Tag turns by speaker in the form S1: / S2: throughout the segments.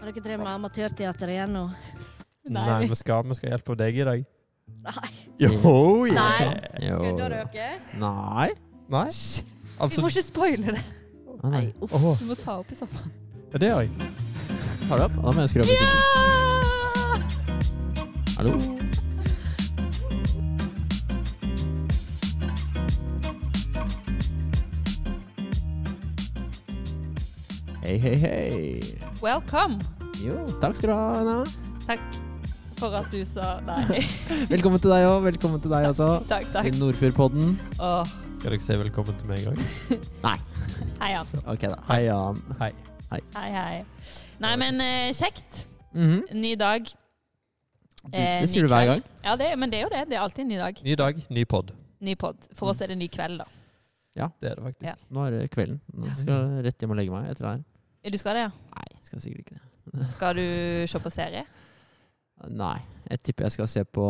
S1: Har dere drevet med amatørteater igjen nå?
S2: Nei,
S3: Nei,
S2: vi-
S3: vi, skal, vi skal hjelpe deg i dag.
S1: Nei.
S3: Jo,
S1: Nei.
S2: Jo.
S1: Kødder dere?
S2: Nei.
S3: Nei,
S2: Shh, vi
S3: altså
S2: må ikke spoile det. Å, nei.
S1: Nei, uff.
S3: Åh,
S1: Ja!
S2: Åh, oh,
S1: Uff.
S2: Å, oh. oh.
S1: må
S2: må ta opp i sofaen.
S3: det har jeg.
S2: Har du opp? Da må jeg skru av musikken. Hallo? Hei, hei, hei.
S4: Welcome!
S2: Jo, takk skal du ha, Anna.
S4: Takk for at du sa nei.
S2: Velkommen til deg òg. Velkommen til deg også.
S4: takk, takk.
S2: Til Nordfjordpodden.
S4: Åh,
S3: Skal dere si velkommen til meg òg?
S4: hei, Jan.
S2: Ok, da. Hei, Jan.
S3: Hei.
S4: Hei, hei. Nei, men eh, kjekt.
S2: Mhm.
S4: Ny dag. Eh,
S2: det sier
S4: ny
S2: du hver
S4: kveld.
S2: gang.
S4: Ja, det, men det er jo det. Det er alltid en ny dag.
S3: Ny dag, ny pod.
S4: Ny pod. For oss er det ny kveld, da.
S3: Det er det faktisk.
S4: Ja.
S2: Nå er det kvelden. Nå skal jeg rett hjem og legge meg etter det her.
S4: Eh, Du skal det, ja?
S2: Nei, skal jeg sikkert ikke det.
S4: Skal du se på serie?
S2: Nei. Jeg tipper jeg skal se på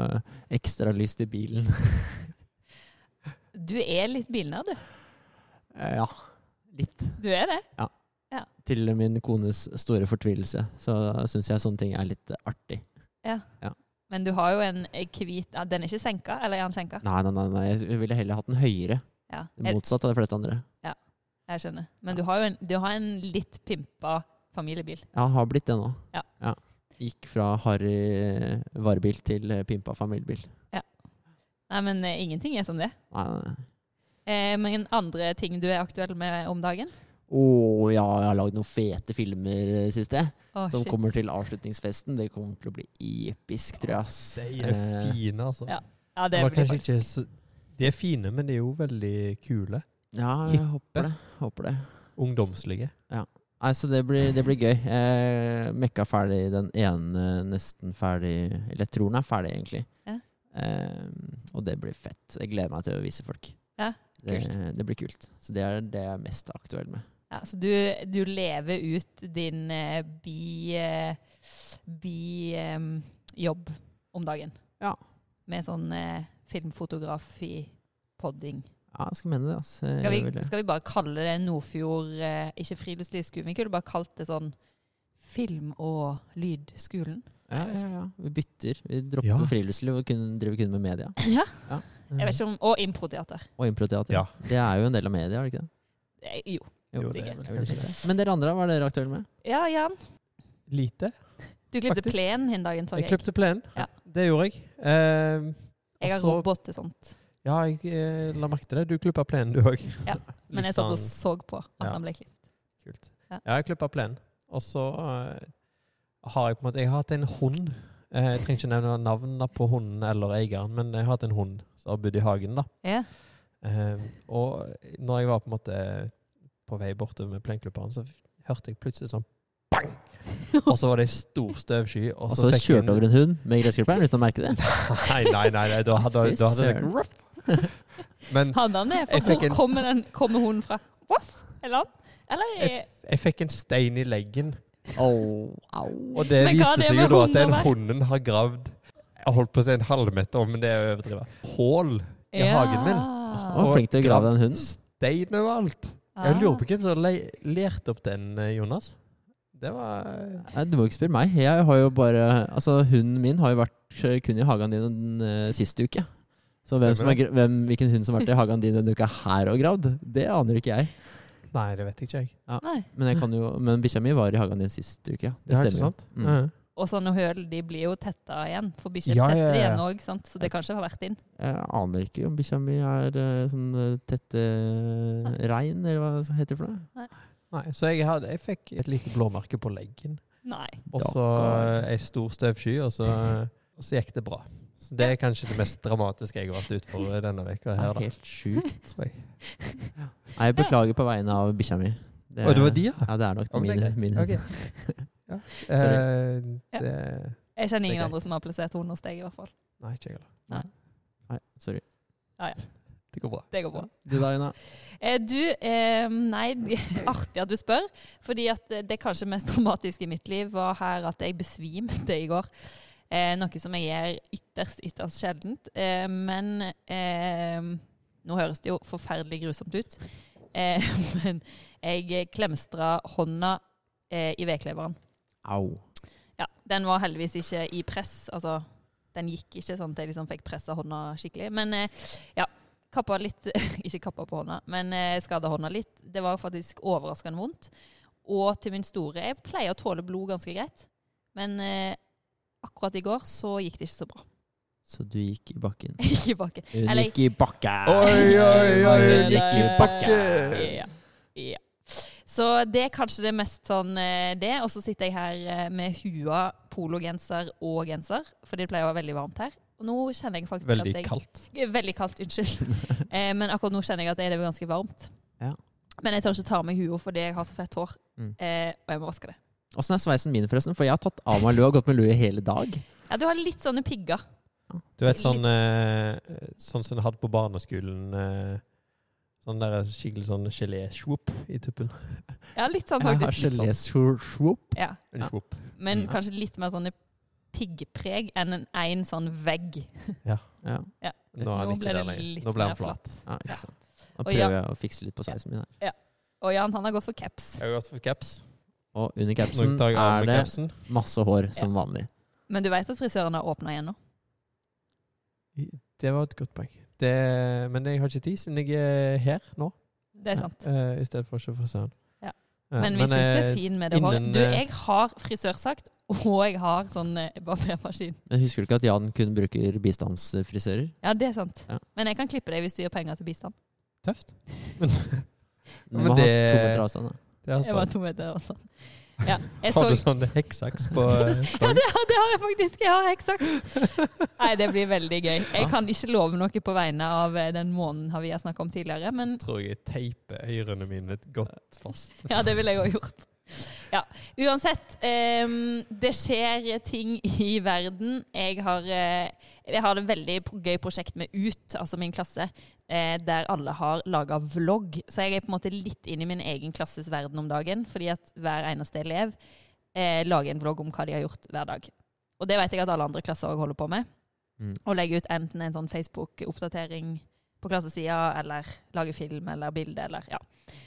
S2: eh, ekstra lys til bilen.
S4: Du er litt bilnær, du.
S2: Eh, ja. Litt.
S4: Du er det.
S2: Til min kones store fortvilelse. Så syns jeg sånne ting er litt eh, artig.
S4: Men du har jo en eh, hvit ja, Den er ikke senka? Eller er den senka?
S2: Nei, nei, nei. nei. Jeg ville heller hatt den høyere.
S4: Ja, jeg,
S2: Motsatt av de fleste andre.
S4: jeg skjønner. Men du har jo en, du har en litt pimpa familiebil.
S2: Ja, har blitt det nå.
S4: Ja.
S2: Gikk fra harry varebil til eh, pimpa familiebil.
S4: Nei, men eh, ingenting er som det.
S2: Nei, nei, nei.
S4: Eh, men andre ting du er aktuell med om dagen?
S2: Å ja, jeg har lagd noen fete filmer eh, sist, jeg.
S4: Å,
S2: som
S4: shit.
S2: kommer til avslutningsfesten. Det kommer til å bli episk, tror jeg. ass.
S3: De er
S2: Eh,
S3: fine, altså.
S4: Ja, Ja,
S3: Det
S4: det
S3: var
S4: blir
S3: kanskje
S4: faktisk
S3: ikke så De er fine, men de er jo veldig kule.
S2: ja, jeg håper det. Håper det.
S3: Ungdomslige.
S2: Nei, så det blir, det blir gøy. Jeg mekka ferdig den ene, nesten ferdig Eller jeg tror den er ferdig, egentlig.
S4: Ja.
S2: Eh, og det blir fett. Jeg gleder meg til å vise folk.
S4: Ja,
S2: det, det blir kult. Så det er det jeg er mest aktuell med.
S4: ja, Så du, du lever ut din eh, bi... Eh, bi eh, jobb om dagen?
S2: Ja.
S4: Med sånn eh, filmfotografi, podding.
S2: Ja, jeg skal mene det. ass. Jeg
S4: Skal vi,
S2: vil det.
S4: skal vi bare kalle det Nordfjord eh, Ikke friluftslivsskolen, vi kunne bare kalt det sånn Film- og lydskolen.
S2: ja, ja, ja. vi bytter. Vi dropper
S3: Ja.
S2: friluftsliv og kun, driver kun med media.
S4: Ja.
S2: Ja.
S4: Jeg vet ikke om, og improteater.
S2: Og improteater.
S3: Ja.
S2: Det er jo en del av media, er det ikke det?
S4: Eh, Jo.
S2: Jo,
S3: Jo,
S2: det er
S4: sikkert.
S2: vel
S3: Jeg vil
S2: kanskje
S3: si
S2: det. Men dere andre, hva er dere aktuelle med?
S4: Ja, Jan.
S3: Eh, Lite.
S4: Du klippte
S3: Faktisk.
S4: plenen den dagen, så
S3: Jeg
S4: jeg.
S3: klipte plenen.
S4: Ja.
S3: Det gjorde jeg. Eh,
S4: Jeg har
S3: også-
S4: robot til sånt.
S3: ja, jeg eh, la merke til det. Du klippa plenen, du òg.
S4: Ja, Men jeg satt og så på at
S3: Ja.
S4: han ble klippet.
S3: Kult.
S4: Ja.
S3: Ja, jeg klippa plenen. Og så eh, har jeg på en måte Jeg har hatt en hund. Eh, jeg trenger ikke nevne navnene på hunden eller eieren, men jeg har hatt en hund som har bodd i hagen. da.
S4: Ja.
S3: Eh, og når jeg var på en måte på vei bortover med plenklipperen, så f- hørte jeg plutselig sånn bang! Og så var det en stor støvsky. Og
S2: Og
S3: så
S2: så
S3: fikk jeg
S2: kjørte over en hund med gressklipperen uten å merke det.
S3: Nei, nei, nei. nei da hadde
S2: Fy
S3: da hadde jeg
S2: søren.
S3: ruff. Men
S4: Hadde han det?
S3: Jeg
S4: For
S3: fikk
S4: hvor
S3: en-
S4: kommer, den, kommer hunden fra? Voff? Eller han? Eller
S3: jeg, f- jeg fikk en stein i leggen.
S2: Au, au.
S3: Og det
S4: Men hva er
S3: viste
S4: det
S3: seg jo
S4: med
S3: da at den
S4: hunder, da?
S3: hunden har gravd jeg holdt på å si en halvmeter, men det er å overdrive. Hål i
S4: Ja.
S3: hagen min.
S2: Han var flink til å grave den hunden.
S3: Stein og alt. Jeg lurer
S4: Ah.
S3: på hvem som har le- lært opp den, eh, Jonas. Det var eh,
S2: Nei, du må ikke spørre meg. Jeg har jo bare Altså, hunden min har jo vært eh, kun i hagen din den eh, siste uke. Så hvem
S3: Stemmer
S2: som har, gra- hvem, hvilken hund som har vært i hagen din denne uka her og gravd, det aner ikke jeg.
S3: Nei, det vet ikke jeg.
S4: Ah. Nei.
S2: Men, jeg kan jo, men bikkja mi var i hagen din sist uke. ja. Det
S3: Ja, ikke
S2: stemmer. jo.
S3: sant?
S2: Mm.
S3: Mm.
S4: Og sånne høl de blir jo tetta igjen, for bikkjer
S3: Ja, ja,
S4: tetter
S3: ja.
S4: igjen òg. Så det kanskje har vært inn.
S2: Jeg aner ikke om bikkja mi er eh, sånn eh, tette rein, eller hva det heter for noe.
S3: Nei, så jeg, hadde, jeg fikk et lite blåmerke på leggen,
S4: Nei.
S3: og så
S2: Dakker.
S3: ei stor støvsky, og så, og så gikk det bra. Så Det er kanskje det mest dramatiske jeg har vært ute for eh, denne veka
S2: Det
S3: her,
S2: er
S3: da.
S2: helt sjukt.
S3: Oi.
S2: Nei, jeg beklager på vegne av bikkja mi. Det,
S3: Å, det var de, ja?
S2: Ja, det er nok
S3: Ja, men det er
S2: min,
S3: greit.
S2: min
S3: Ok. Ja.
S2: Sorry.
S3: Eh, det,
S4: Jeg kjenner
S3: Det er
S4: ingen
S3: greit.
S4: andre som har plassert hund hos deg, i hvert fall.
S3: nei, ikke jeg heller.
S2: Nei, sorry.
S3: Det går bra.
S4: Det går bra.
S2: Du da, Ina?
S4: Eh, du eh, Nei, artig at du spør. Fordi at eh, det kanskje mest dramatiske i mitt liv var her at jeg besvimte i går. Eh, noe som jeg gjør ytterst, ytterst sjeldent. Eh, men eh, Nå høres det jo forferdelig grusomt ut. Eh, men jeg klemstra hånda eh, i vedkleberen.
S2: Au.
S4: Ja, den var heldigvis ikke i press. Altså, den gikk ikke sånn at jeg liksom fikk pressa hånda skikkelig. Men eh, ja, kappa litt Ikke kappa på hånda, men eh, skada hånda litt. Det var faktisk overraskende vondt. Og til min store Jeg pleier å tåle blod ganske greit, men eh, akkurat i går så gikk det ikke så bra.
S2: Så du gikk i bakken.
S4: Jeg gikk i bakken.
S2: Hun
S4: Eller-
S2: gikk i bakken!
S3: Oi, oi, oi,
S2: Hun
S4: det-
S2: gikk i bakken!
S4: Ja. ja. Så det er kanskje det mest sånn eh, det. Og så sitter jeg her eh, med hua, pologenser og genser, for det pleier å være veldig varmt her. Og nå kjenner jeg faktisk
S3: Veldig
S4: at jeg
S3: kaldt.
S4: Veldig kaldt, unnskyld. Eh, men akkurat nå kjenner jeg at jeg lever ganske varmt.
S2: Ja.
S4: Men jeg tør ikke ta av meg hua fordi jeg har så fett hår,
S2: Mm.
S4: eh, og jeg må vaske det.
S2: Åssen er sveisen min, forresten? For jeg har tatt av meg lue og gått med lue i hele dag.
S4: Ja, du har litt sånne pigger.
S3: Du vet sånn eh, Sånn som du hadde på barneskolen eh, Sånn der skikkelig sånn gelé-svopp i tuppen.
S4: Ja, litt sånn
S2: Jeg har
S4: faktisk.
S3: litt sånn.
S2: gelésvop.
S4: Ja.
S3: Eller svopp.
S4: Men
S2: Mm.
S4: kanskje litt mer sånne piggpreg enn en, en sånn vegg.
S2: Ja.
S3: Nå er han
S4: Nå
S3: ikke
S4: ble
S3: der
S4: det
S3: lenger.
S4: litt
S3: Nå ble
S4: mer
S3: han flat.
S2: ja, ikke sant. Da
S4: Og ja.
S2: prøver jeg å fikse litt på sveisen min her.
S4: Og Jan, han har gått for caps.
S3: Jeg har gått for caps.
S2: Og under
S3: Nå
S2: capsen
S3: tar jeg av
S2: er
S3: meg
S2: det
S3: capsen.
S2: masse hår, som vanlig.
S4: Men du vet at frisøren har åpna igjen nå?
S3: Det var et godt poeng. Det, men jeg har ikke tid, siden jeg er her nå.
S4: Det er sant.
S3: eh, I stedet for å se frisøren.
S4: Ja.
S3: Eh,
S4: Men vi syns du er
S3: eh,
S4: fin med det
S3: innen,
S4: håret. Du,
S3: eh,
S4: jeg har frisørsakt, og jeg har sånn eh, barbermaskin.
S2: Men husker du ikke at Jan kun bruker bistandsfrisører?
S4: Ja, det er sant.
S2: Ja.
S4: Men jeg kan klippe deg hvis du gir penger til bistand.
S3: Tøft.
S2: Du
S3: Men
S2: må ha
S3: det-
S2: to meter avstand. da.
S3: Det er
S4: Jeg var
S3: spennende.
S4: to meter og sånn. Ja, jeg så
S3: Har du sånn hekksaks på eh,
S4: ja,
S3: stang?
S4: det, har- det har jeg faktisk. Jeg har hekksaks. Nei, det blir veldig gøy. Jeg kan ikke love noe på vegne av eh, den måneden har vi har snakket om tidligere, men
S3: Tror jeg teiper ørene mine godt fast.
S4: Ja, det ville jeg òg gjort. Ja, Uansett, ehm, det skjer ting i verden. Jeg har, eh, jeg har et veldig p- gøy prosjekt med UT, altså min klasse, eh, der alle har laga vlogg. Så jeg er på en måte litt inne i min egen klasses verden om dagen, fordi at hver eneste elev eh, lager en vlogg om hva de har gjort hver dag. Og det vet jeg at alle andre klasser òg holder på med.
S2: Mm.
S4: Og legger ut enten en sånn Facebook-oppdatering på klassesida, eller lager film eller bilde, eller ja.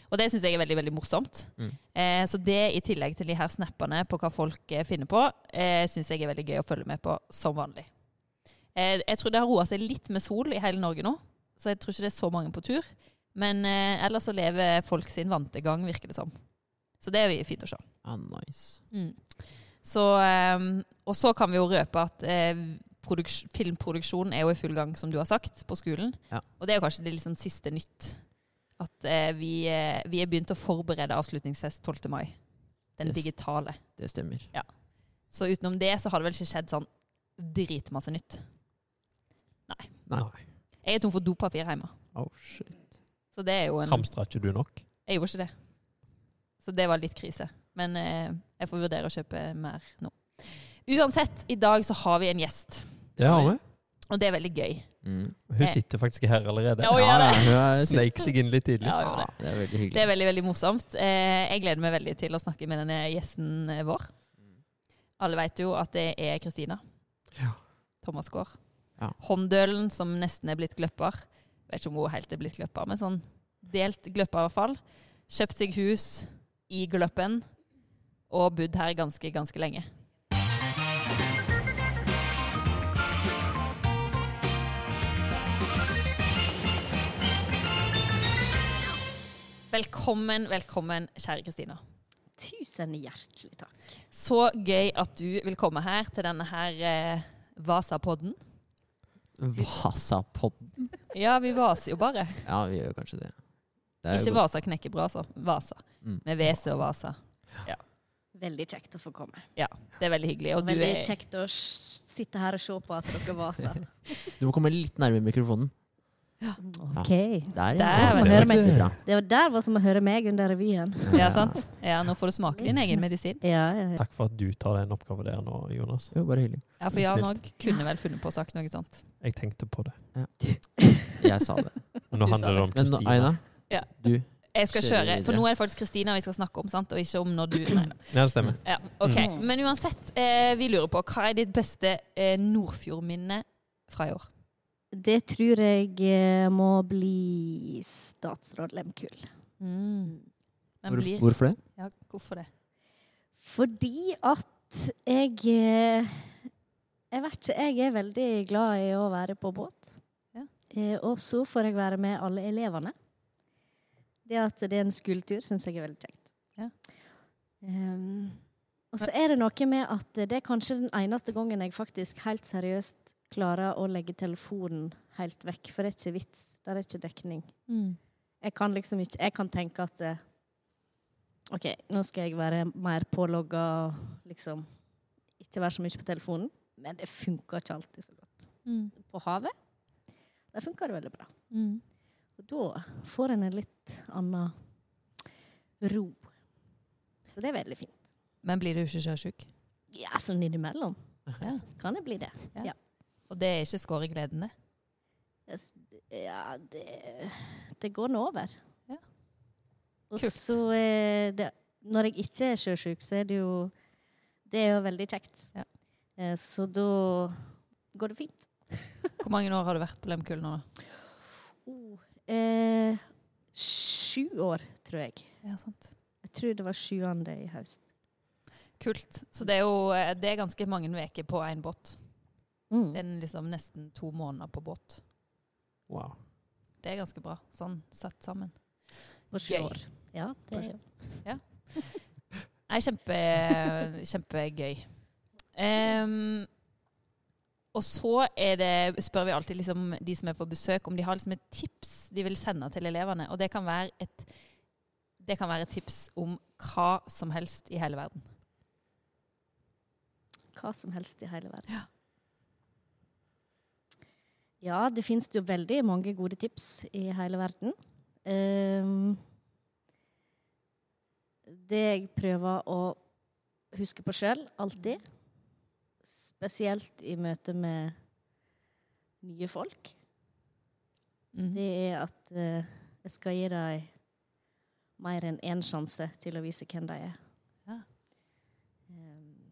S4: Og det syns jeg er veldig veldig morsomt.
S2: Mm.
S4: Eh, så det, i tillegg til de her snappene på hva folk eh, finner på, eh, syns jeg er veldig gøy å følge med på som vanlig. Eh, jeg tror det har roa seg litt med sol i hele Norge nå, så jeg tror ikke det er så mange på tur. Men eh, ellers så lever folk sin vante gang, virker det som. Så det er fint å se.
S2: Ah, nice.
S4: Mm. Så, eh, og så kan vi jo røpe at eh, produks- filmproduksjon er jo i full gang, som du har sagt, på skolen.
S2: Ja.
S4: Og det er jo kanskje det liksom siste nytt. At eh, vi, eh, vi er begynt å forberede avslutningsfest 12. mai. Den
S2: Yes.
S4: digitale.
S2: Det stemmer.
S4: Så utenom det så har det vel ikke skjedd sånn dritmasse nytt.
S2: Nei.
S4: Jeg er tom for dopapir hjemme.
S2: Oh, shit.
S4: Så det er jo en
S3: Hamstrer ikke du nok?
S4: Jeg gjorde ikke det. Så det var litt krise. Men eh, jeg får vurdere å kjøpe mer nå. Uansett, i dag så har vi en gjest.
S3: Det har vi.
S4: Og det er veldig gøy.
S2: Mm.
S3: Hun sitter faktisk her allerede.
S4: Eh. Ja, Å, gjør det.
S2: hun er snill.
S3: Sneik seg inn litt tidlig.
S4: Ja, jo, det.
S2: det er veldig Ah, hyggelig.
S4: Det er veldig veldig morsomt. Eh, jeg gleder meg veldig til å snakke med denne gjesten eh, vår.
S2: Mm.
S4: Alle vet jo at det er Kristina.
S3: Ja.
S4: Thomas Gaard.
S2: Ja.
S4: Hånddølen som nesten er blitt gløpper. Vet ikke om hun helt er blitt gløpper, men sånn delt gløpper i hvert fall. Kjøpt seg hus i Gløppen og bodd her ganske, ganske lenge. Velkommen, velkommen, kjære Kristina.
S1: Tusen hjertelig takk.
S4: Så gøy at du vil komme her til denne her eh, Vasa-podden.
S2: Vasapodden.
S4: Ja, vi vaser jo bare.
S2: Ja, vi gjør kanskje det. Det er
S4: Ikke
S2: jo godt.
S4: Vasa knekkebrød, altså. Vasa.
S2: Mm.
S4: Med WC og Vasa.
S1: Veldig kjekt å få komme.
S4: Det er veldig hyggelig.
S1: Og
S4: Og du
S1: veldig
S4: er
S1: kjekt å s- sitte her og se på at dere vaser.
S2: Du må komme litt nærmere mikrofonen.
S1: Ok.
S2: Der, ja.
S4: Der, Det er som å
S2: Det
S1: høre
S2: var
S1: meg.
S2: veldig bra.
S1: Det var der var som å høre meg under revyen.
S4: Ja, sant? Ja, nå får du smake din egen medisin.
S1: Ja, ja, ja.
S3: Takk for at du tar den oppgaven der nå, Jonas.
S2: Det var bare hyggelig.
S4: Ja, for Jan òg kunne vel funnet på å sagt noe sånt.
S3: Jeg tenkte på det.
S2: Jeg sa det.
S3: Nå
S4: Du sa
S3: handler det om
S2: Men
S3: Kristina.
S2: Aina,
S4: Ja.
S2: du
S4: Jeg skal
S2: Kjører
S4: kjøre,
S2: videre.
S4: for nå er det faktisk Kristina vi skal snakke om, sant? og ikke om når du Nei da.
S3: Ja, det stemmer.
S4: Ja, ok.
S1: Mm.
S4: Men uansett, eh, vi lurer på hva er ditt beste eh, Nordfjordminne fra i år?
S1: Det tror jeg eh, må bli statsråd Lehmkuhl.
S4: Mm. Men
S2: hvor,
S4: blir
S2: Hvorfor det?
S4: Ja, hvorfor det?
S1: Fordi at jeg eh, Jeg vet ikke, jeg er veldig glad i å være på båt.
S4: Ja.
S1: Eh, Og så får jeg være med alle elevene. Det at det er en skoletur, syns jeg er veldig kjekt.
S4: Ja.
S1: Ehm, og så er det noe med at det er kanskje den eneste gangen jeg faktisk helt seriøst klarer å legge telefonen helt vekk, for det er ikke vits. Der er ikke dekning.
S4: Mm.
S1: Jeg kan liksom ikke Jeg kan tenke at eh, OK, nå skal jeg være mer pålogga og liksom ikke være så mye på telefonen. Men det funker ikke alltid så godt.
S4: Mm.
S1: På havet der funker det veldig bra. Og da får en en litt annen ro. Så det er veldig fint.
S4: Men blir du ikke sjøsjuk?
S1: Ja, sånn innimellom
S4: Ja.
S1: kan det bli det.
S4: Og det er ikke skår i gleden, det.
S1: Ja, det, det går nå over.
S4: Ja.
S1: Og
S4: Kult.
S1: så eh, det, Når jeg ikke er sjøsjuk, så er det jo Det er jo veldig kjekt.
S4: Ja.
S1: Eh, så da går det fint.
S4: Hvor mange år har du vært på Lemkull nå, da?
S1: Oh, eh, sju år, tror jeg.
S4: Ja, sant.
S1: Jeg tror det var sjuende i høst.
S4: Kult. Så det er jo eh, det er ganske mange uker på én båt.
S1: Mm.
S4: Det er liksom nesten to måneder på båt.
S3: Wow.
S4: Det er ganske bra, sånn satt sammen.
S1: På sju
S4: gøy.
S1: år. Ja, det er
S4: Nei, kjempe, kjempegøy. Ehm, og så er det, spør vi alltid liksom, de som er på besøk, om de har liksom et tips de vil sende til elevene. Og det kan være et, det kan være et tips om hva som helst i hele verden.
S1: hva som helst i hele verden.
S4: Ja.
S1: Ja, det finnes jo veldig mange gode tips i hele verden. Ehm, det jeg prøver å huske på sjøl, alltid, spesielt i møte med nye folk, det er at eh, jeg skal gi dem mer enn én sjanse til å vise hvem de er.
S4: Ja.
S1: Ehm,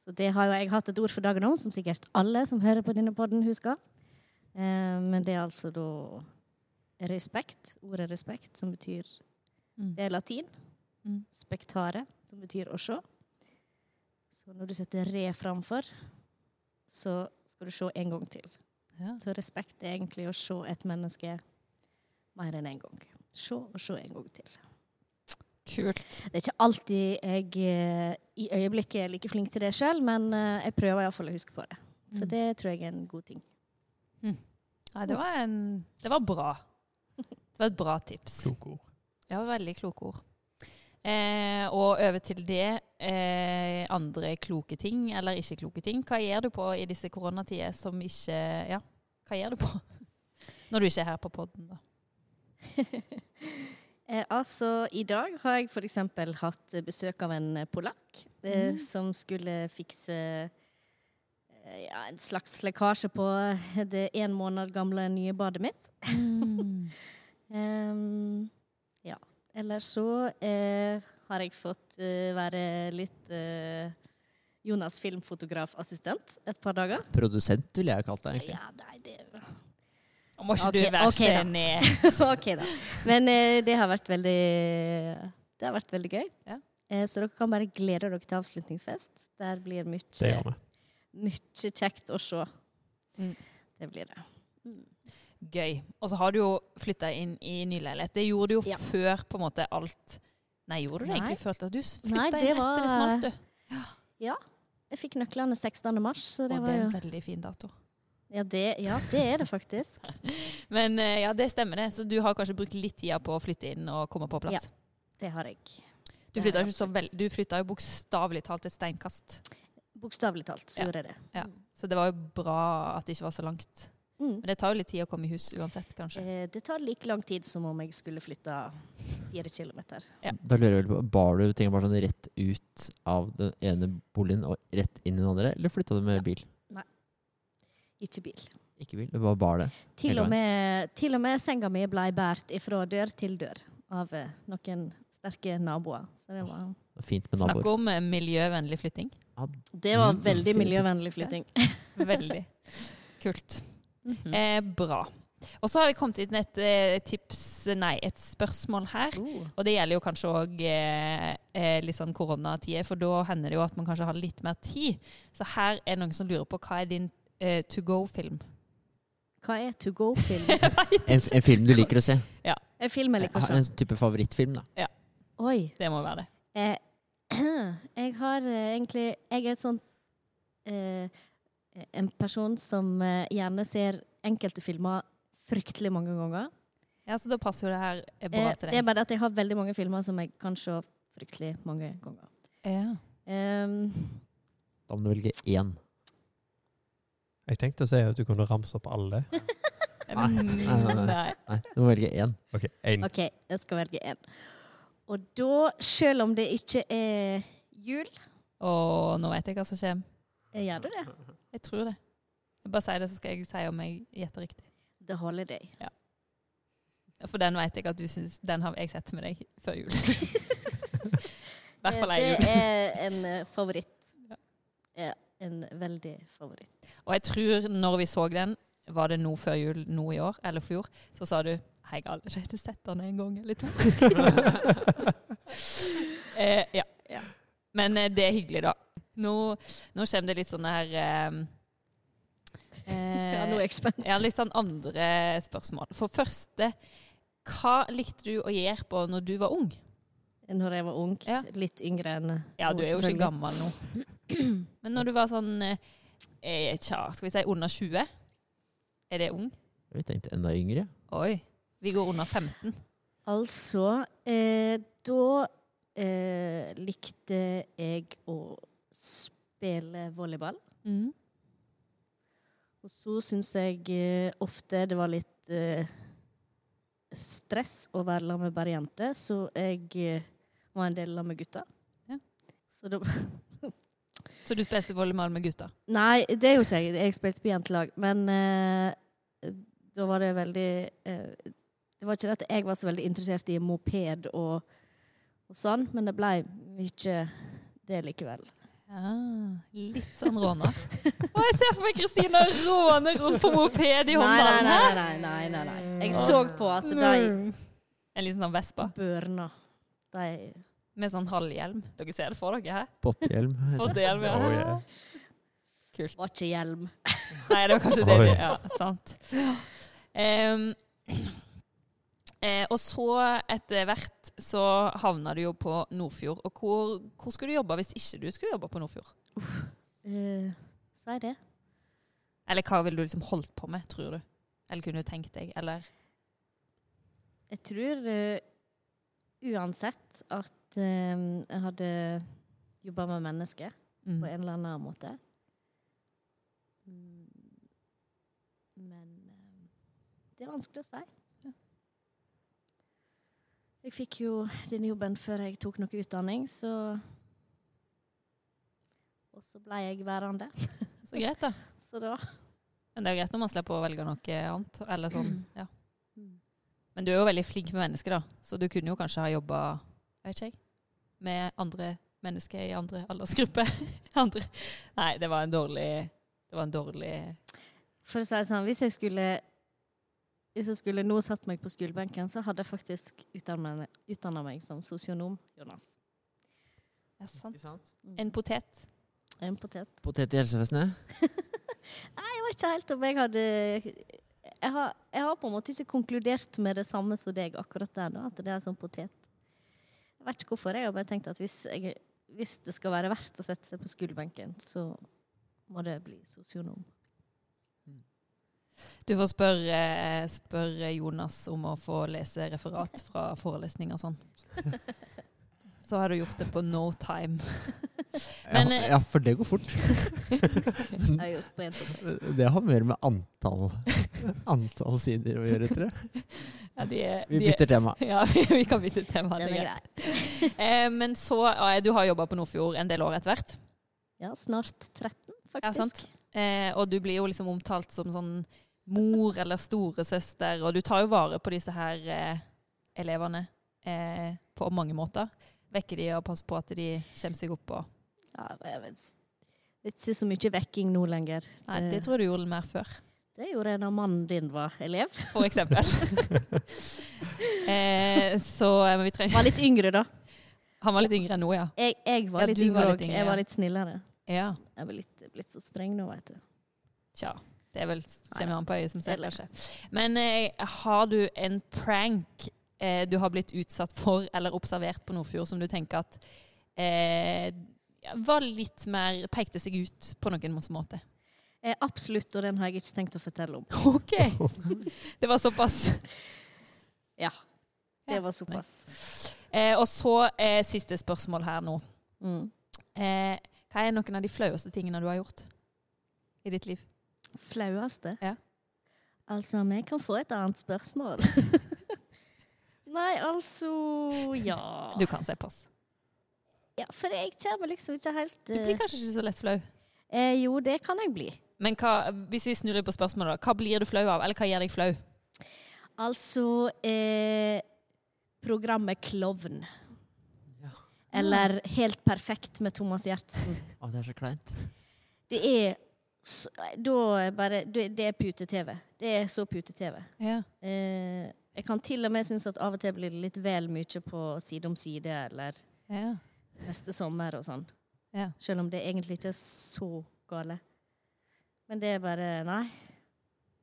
S1: Så det har jo jeg hatt et ord for dagen om, som sikkert alle som hører på denne podden husker. Ehm, Men det er altså da respekt, ordet respekt, som betyr
S4: Mm.
S1: Det er latin.
S4: Mm.
S1: Spektare, som betyr å se. Så når du setter re framfor, så skal du se en gang til.
S4: Ja.
S1: Så respekt er egentlig å se et menneske mer enn én en gang. Se og se en gang til.
S4: Kult.
S1: Det er ikke alltid jeg eh, i øyeblikket er like flink til det sjøl, men eh, jeg prøver iallfall å huske på det. Så
S4: Mm.
S1: det tror jeg er en god ting.
S4: Nei, det var, en, det var bra. Det var et bra tips.
S3: Kloke ord.
S4: Ja, veldig kloke ord. Eh, og over til det, eh, andre kloke ting eller ikke kloke ting. Hva gjør du på i disse koronatider som ikke Ja, hva gjør du på? Når du ikke er her på podden, da.
S1: Eh, altså, I dag har jeg f.eks. hatt eh, besøk av en eh, polakk eh,
S4: Mm.
S1: som skulle fikse eh, ja, en slags lekkasje på det en måned gamle nye badet mitt. Mm. Ehm, ja. Eller så eh, har jeg fått eh, være litt eh, Jonas filmfotografassistent et par dager.
S2: Produsent ville jeg kalt det, egentlig.
S1: Ja, nei, det
S4: Og Må ikke
S1: Ok,
S4: du være
S1: ok da.
S4: geni?
S1: OK, da. Men eh, det har vært veldig Det har vært veldig gøy.
S4: Ja.
S1: Eh, så dere kan bare glede dere til avslutningsfest. Der blir
S3: Det
S1: mye,
S3: gjør vi.
S1: mye kjekt å se.
S4: Mm.
S1: Det blir det.
S4: Gøy. Og så har du jo flytta inn i ny leilighet. Det gjorde du jo
S1: Ja.
S4: før på en måte alt Nei, gjorde du det
S1: Nei.
S4: egentlig før? Du flytta
S1: Nei,
S4: inn
S1: det
S4: etter
S1: var-
S4: det smalt, du.
S1: Jeg fikk nøklene 16. mars, så
S4: Og
S1: det
S4: det
S1: var
S4: er
S1: jo
S4: en veldig fin dato.
S1: ja det, ja, det er det faktisk.
S4: Men eh, ja, det stemmer det. Så du har kanskje brukt litt tida på å flytte inn og komme på plass?
S1: Ja. Det har jeg.
S4: Du flytta, ikke så vel- du flytta jo bokstavelig talt et steinkast.
S1: Bokstavelig talt så
S4: Ja.
S1: gjorde jeg det.
S4: Så det var jo bra at det ikke var så langt.
S1: Mm.
S4: Men det tar jo litt tid å komme i hus uansett, kanskje.
S1: Eh, det tar like lang tid som om jeg skulle flytta fire kilometer.
S4: Ja.
S2: Da lurer jeg veldig på, Bar du ting bare sånn rett ut av den ene boligen og rett inn i den andre, eller flytta du med bil?
S1: Ikke bil.
S2: Ikke bil, det var bar det.
S1: Til
S2: Hele
S1: og med, til og med senga mi ble båret fra dør til dør av eh, noen sterke naboer. Så det var,
S2: Det var Fint med
S4: Snakk
S2: naboer.
S4: om eh, miljøvennlig flytting.
S1: det var
S2: Mm,
S1: veldig
S2: definitivt.
S1: miljøvennlig flytting.
S4: Veldig kult.
S1: Mhm.
S4: Eh, bra. Og så har vi kommet inn et eh, tips, nei, et spørsmål her.
S1: Oh.
S4: Og det gjelder jo kanskje òg eh, eh, litt sånn koronatider, for da hender det jo at man kanskje har litt mer tid. Så her er noen som lurer på hva er din eh, to go-film?
S1: Hva er to go-film?
S2: En, en film du liker å se.
S1: En film jeg liker å se.
S2: En type favorittfilm, da.
S1: Oi.
S4: Det må være det.
S1: Eh, jeg har eh, egentlig Jeg er et sånt eh, En person som eh, gjerne ser enkelte filmer fryktelig mange ganger.
S4: Ja, Så da passer jo det her eh, bra
S1: Eh,
S4: til
S1: det er
S4: deg.
S1: bare det at jeg har veldig mange filmer som jeg kan se fryktelig mange ganger.
S4: Ja.
S1: Ehm,
S2: Da må du velge én.
S3: Jeg tenkte å si at du kunne ramse opp alle.
S2: nei, nei.
S4: Nei.
S2: Nei, du må velge én.
S3: Ok, en.
S1: OK, jeg skal velge én. Og da, selv om det ikke er jul
S4: Og nå vet jeg hva som kommer.
S1: eh, Gjør du det?
S4: Jeg tror det. Jeg bare sier det, så skal jeg si om jeg gjetter riktig.
S1: The Holiday.
S4: For den vet jeg at du syns Den har jeg sett med deg før jul. I hvert fall ei
S1: Eh,
S4: jul.
S1: Det er en eh, favoritt.
S4: Ja.
S1: Ja, en veldig favoritt.
S4: Og jeg tror når vi så den, var det nå før jul nå i år, eller fjor, så sa du Hei, jeg har allerede sett den en gang eller to. eh, ja.
S1: Ja.
S4: Men eh, det er hyggelig, da. Nå, nå kommer det litt sånn her eh, eh,
S1: Ja, nå er jeg spent.
S4: Jeg har litt sånn andre spørsmål. For første, hva likte du å gjøre på når du var ung?
S1: Når jeg var ung.
S4: Ja.
S1: Litt yngre enn eh,
S4: Ja,
S1: nå,
S4: du er jo ikke
S1: selvfølgelig.
S4: gammel nå. Men når du var sånn eh, eh, tja, skal vi si under 20? Er det ung?
S2: Vi tenkte enda yngre.
S4: Oi. Vi går under 15.
S1: Altså, eh, da eh, likte jeg å spille volleyball.
S4: Mm.
S1: Og så syns jeg eh, ofte det var litt eh, stress å være sammen med bare jenter, så jeg eh, var en del sammen med gutter.
S4: Ja.
S1: Så da
S4: Så du spilte volleyball med gutta?
S1: Nei, det gjorde ikke jeg. Jeg spilte på jentelag. Men eh, da var det veldig eh, Det var ikke det at jeg var så veldig interessert i moped og, og sånn, men det ble mye det likevel.
S4: Ah, litt sånn råner. Å, jeg ser for meg Kristina råne rundt på moped i
S1: nei, nei,
S4: håndballen
S1: nei,
S4: her!
S1: nei, nei, nei, nei. Jeg så på at de
S4: En liten sånn vespa
S1: børna de
S4: med sånn halvhjelm. Dere ser det for dere, hæ?
S2: Pottehjelm.
S4: Hodehjelm, ja.
S3: Oh, yeah.
S4: Kult.
S1: var ikke hjelm.
S4: Nei, det var kanskje det.
S3: Oi.
S4: det- Ja, sant. Ehm, eh, og så etter hvert så havna du jo på Nordfjord. Og hvor, hvor skulle du jobbe hvis ikke du skulle jobbe på Nordfjord?
S1: Eh, si det.
S4: Eller hva ville du liksom holdt på med, tror du? Eller kunne du tenkt deg? Eller
S1: Jeg tror eh, uansett at eh, jeg hadde jobba med mennesker. på
S4: mm.
S1: en eller annen måte. Mm. Men eh, det er vanskelig å si.
S4: Ja.
S1: Jeg fikk jo denne jobben før jeg tok noe utdanning, så Og så ble jeg værende.
S4: Så greit, da.
S1: Så da
S4: Men det er jo greit når man slipper å velge noe annet. Eller
S1: Mm.
S4: sånn, ja. Men du er jo veldig flink med mennesker, da. Så du kunne jo kanskje ha jobba vet ikke jeg, med andre mennesker i andre aldersgrupper. andre. Nei, det var en dårlig Det var en dårlig
S1: For å si det sånn, hvis jeg skulle hvis jeg skulle nå satt meg på skolebenken, så hadde jeg faktisk utdanna meg som sosionom. Jonas.
S4: Ja, sant.
S1: Mm.
S4: En potet.
S1: En potet.
S2: Potet i helsevesenet.
S1: Jeg vet ikke helt om jeg hadde jeg har, jeg har på en måte ikke konkludert med det samme som deg akkurat der nå, at det er sånn potet. Jeg vet ikke hvorfor. Jeg har bare tenkt at hvis, jeg, hvis det skal være verdt å sette seg på skolebenken, så må det bli sosionom.
S4: Du får spørre spør Jonas om å få lese referat fra forelesning og sånn. Så har du gjort det på no time.
S2: ja,
S4: Men, eh,
S2: ja, for det går fort.
S1: Jeg har gjort på en, to, tre.
S2: Det har mer med antall Antall sider å gjøre, tror jeg.
S4: Ja, de, er-
S2: Vi
S4: de, er-
S2: bytter tema.
S4: Ja, vi, vi kan bytte tema. Det
S1: Den
S4: er
S1: er
S4: greit.
S1: grei.
S4: Eh, men så eh, Du har jobba på Nordfjord en del år etter hvert.
S1: Ja, snart 13, faktisk.
S4: Ja, sant. Eh, og du blir jo liksom omtalt som sånn mor eller storesøster, og du tar jo vare på disse her eh, elevene eh, på mange måter. Vekker de og passer på at de kommer seg opp og
S1: Ja, jeg vet, det er ikke så mye vekking nå lenger.
S4: Nei, det tror jeg du gjorde mer før.
S1: Det gjorde jeg da mannen din var elev.
S4: for eksempel. eh, så eh, men vi trenger
S1: Var litt yngre, da.
S4: Han var litt yngre enn nå, ja.
S1: Jeg, jeg var
S4: Ja,
S1: litt
S4: du var
S1: yngre
S4: litt
S1: òg.
S4: yngre,
S1: Jeg
S4: ja.
S1: var litt snillere.
S4: Ja.
S1: Jeg er litt, blitt så streng nå, vet du.
S4: Tja. Det er vel
S1: Nei,
S4: kommer an på øyet som ser,
S1: Eller-
S4: kanskje. Men eh, har du en prank eh, du har blitt utsatt for eller observert på Nordfjord som du tenker at eh, var litt mer Pekte seg ut på noen måte?
S1: Eh, absolutt, og den har jeg ikke tenkt å fortelle om.
S4: OK! Det var såpass.
S1: Ja.
S4: Ja,
S1: Det var såpass.
S4: Eh, og så eh, siste spørsmål her nå.
S1: Mm.
S4: Eh, hva er noen av de flaueste tingene du har gjort i ditt liv?
S1: Flaueste?
S4: Ja.
S1: Altså, om jeg kan få et annet spørsmål? Nei, altså Ja.
S4: Du kan se på oss.
S1: ja for jeg kommer liksom ikke helt
S4: Du
S1: eh,
S4: blir kanskje ikke så lett flau.
S1: eh, Jo, det kan jeg bli.
S4: Men hva, hvis vi snur litt på spørsmålet, da. Hva blir du flau av? Eller hva gjør deg flau?
S1: Altså eh, Programmet Klovn. Eller Helt perfekt med Thomas Gjertsen.
S2: Å, det er så kleint.
S1: Det er s- da bare Det det er pute-TV. Det er så pute-TV.
S4: Ja.
S1: Eh, jeg kan til og med synes at av og til blir det litt vel mye på Side om side eller
S4: Ja.
S1: Neste sommer og sånn.
S4: Ja.
S1: Selv om det egentlig ikke er så gale. Men det er bare Nei.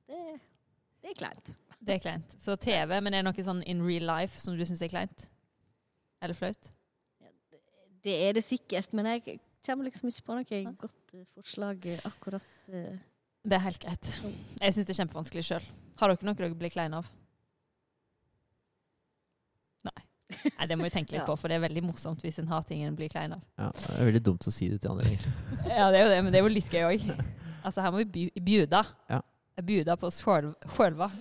S1: Det, det er kleint.
S4: Det er kleint. Så TV, men er det noe sånn in real life som du syns er kleint? Eller flaut?
S1: Det er det sikkert, men jeg kommer liksom ikke på noe godt eh, forslag eh, akkurat. eh.
S4: Det er helt greit. Jeg syns det er kjempevanskelig sjøl. Har dere noe dere blir kleine av? Nei. Nei, Det må vi tenke litt
S1: Ja.
S4: på, for det er veldig morsomt hvis en har ting en blir klein av.
S2: Ja, det er veldig dumt å si det til andre. egentlig.
S4: Ja, det er jo det, men det er jo litt gøy òg. Altså, her må vi by- bjuda.
S2: Ja.
S4: Bjuda på oss sjøl- sjølva.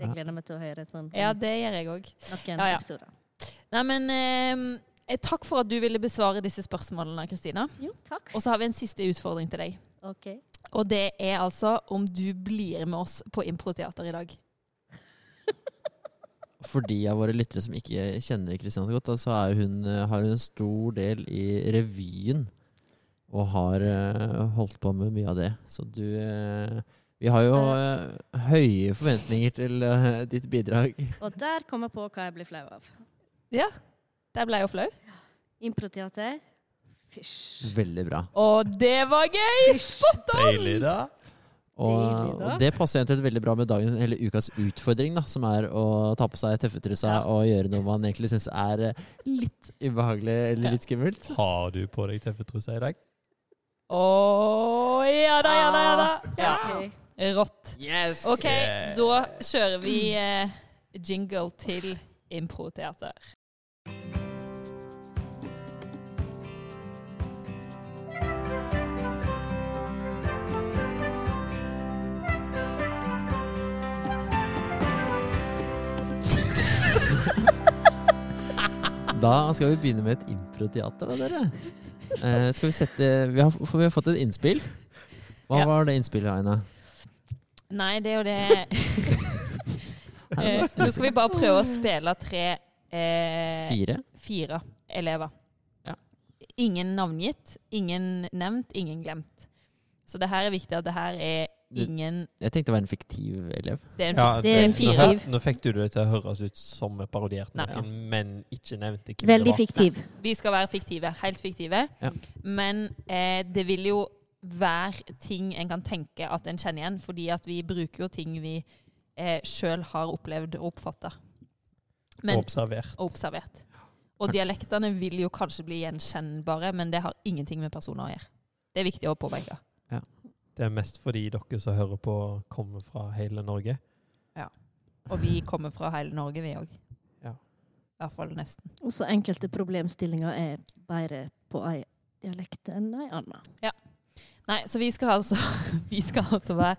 S1: Jeg gleder meg til å høre et sånt
S4: Ja, det gjør jeg òg.
S1: noen
S4: ja, ja.
S1: episoder.
S4: Nei, men eh, takk for at du ville besvare disse spørsmålene, Kristina.
S1: Jo, takk.
S4: Og så har vi en siste utfordring til deg.
S1: OK.
S4: Og det er altså om du blir med oss på improteater i dag.
S2: For de av våre lyttere som ikke kjenner Kristian så godt, da, så er hun, eh, har hun en stor del i revyen. Og har eh, holdt på med mye av det. Så du eh, Vi har jo eh, høye forventninger til eh, ditt bidrag.
S1: Og der kom jeg på hva jeg blir flau av.
S4: Ja. Der ble jeg jo flau.
S1: Improteater. Fysj.
S2: Veldig bra.
S4: Og det var gøy! Spot on!
S3: Deilig, da.
S2: Og,
S1: Deilig, da.
S2: og det passer egentlig veldig bra med dagens, eller ukas utfordring, da, som er å ta på seg tøffetrusa
S4: Ja.
S2: og gjøre noe man egentlig syns er eh, litt ubehagelig eller litt skummelt.
S3: Har du på deg tøffetrusa i dag?
S4: Å, ja da, ja da, ja da. Ah, Ja.
S1: Ok.
S4: Rått.
S2: Yes!
S4: OK, da kjører vi eh, jingle til improteater.
S2: Da skal vi begynne med et improteater, da, dere. Eh, skal vi sette vi har, For vi har fått et innspill. Hva
S4: Ja.
S2: var det innspillet, Aina?
S4: Nei, det er jo det eh, Nå skal vi bare prøve å spille tre eh,
S2: Fire?
S4: fire elever.
S2: Ja.
S4: Ingen navngitt, ingen nevnt, ingen glemt. Så det her er viktig at det her er
S2: Du-
S4: ingen
S2: Jeg tenkte å være en fiktiv elev.
S4: Det er en
S3: Ja,
S1: Det er en
S3: nå
S1: fiktiv.
S3: hør- Nå fikk du det til å høres ut som vi parodierte
S4: Nei.
S3: noen, men ikke nevnte hvem
S1: Veldig
S3: det var.
S1: fiktiv.
S4: Vi skal være fiktive, helt fiktive.
S2: Ja.
S4: Men eh, det vil jo være ting en kan tenke at en kjenner igjen, fordi at vi bruker jo ting vi eh, sjøl har opplevd og oppfatta. Men
S3: Observert.
S4: og observert. Og dialektene vil jo kanskje bli gjenkjennbare, men det har ingenting med personer å gjøre. Det er viktig å påpeke.
S3: Det er mest fordi dere som hører på, kommer fra hele Norge.
S4: Og vi kommer fra hele Norge, vi òg.
S3: Ja.
S4: I hvert fall nesten.
S1: Og så enkelte problemstillinger er bedre på ei dialekt enn ei anna.
S4: Nei, så vi skal altså, vi skal altså være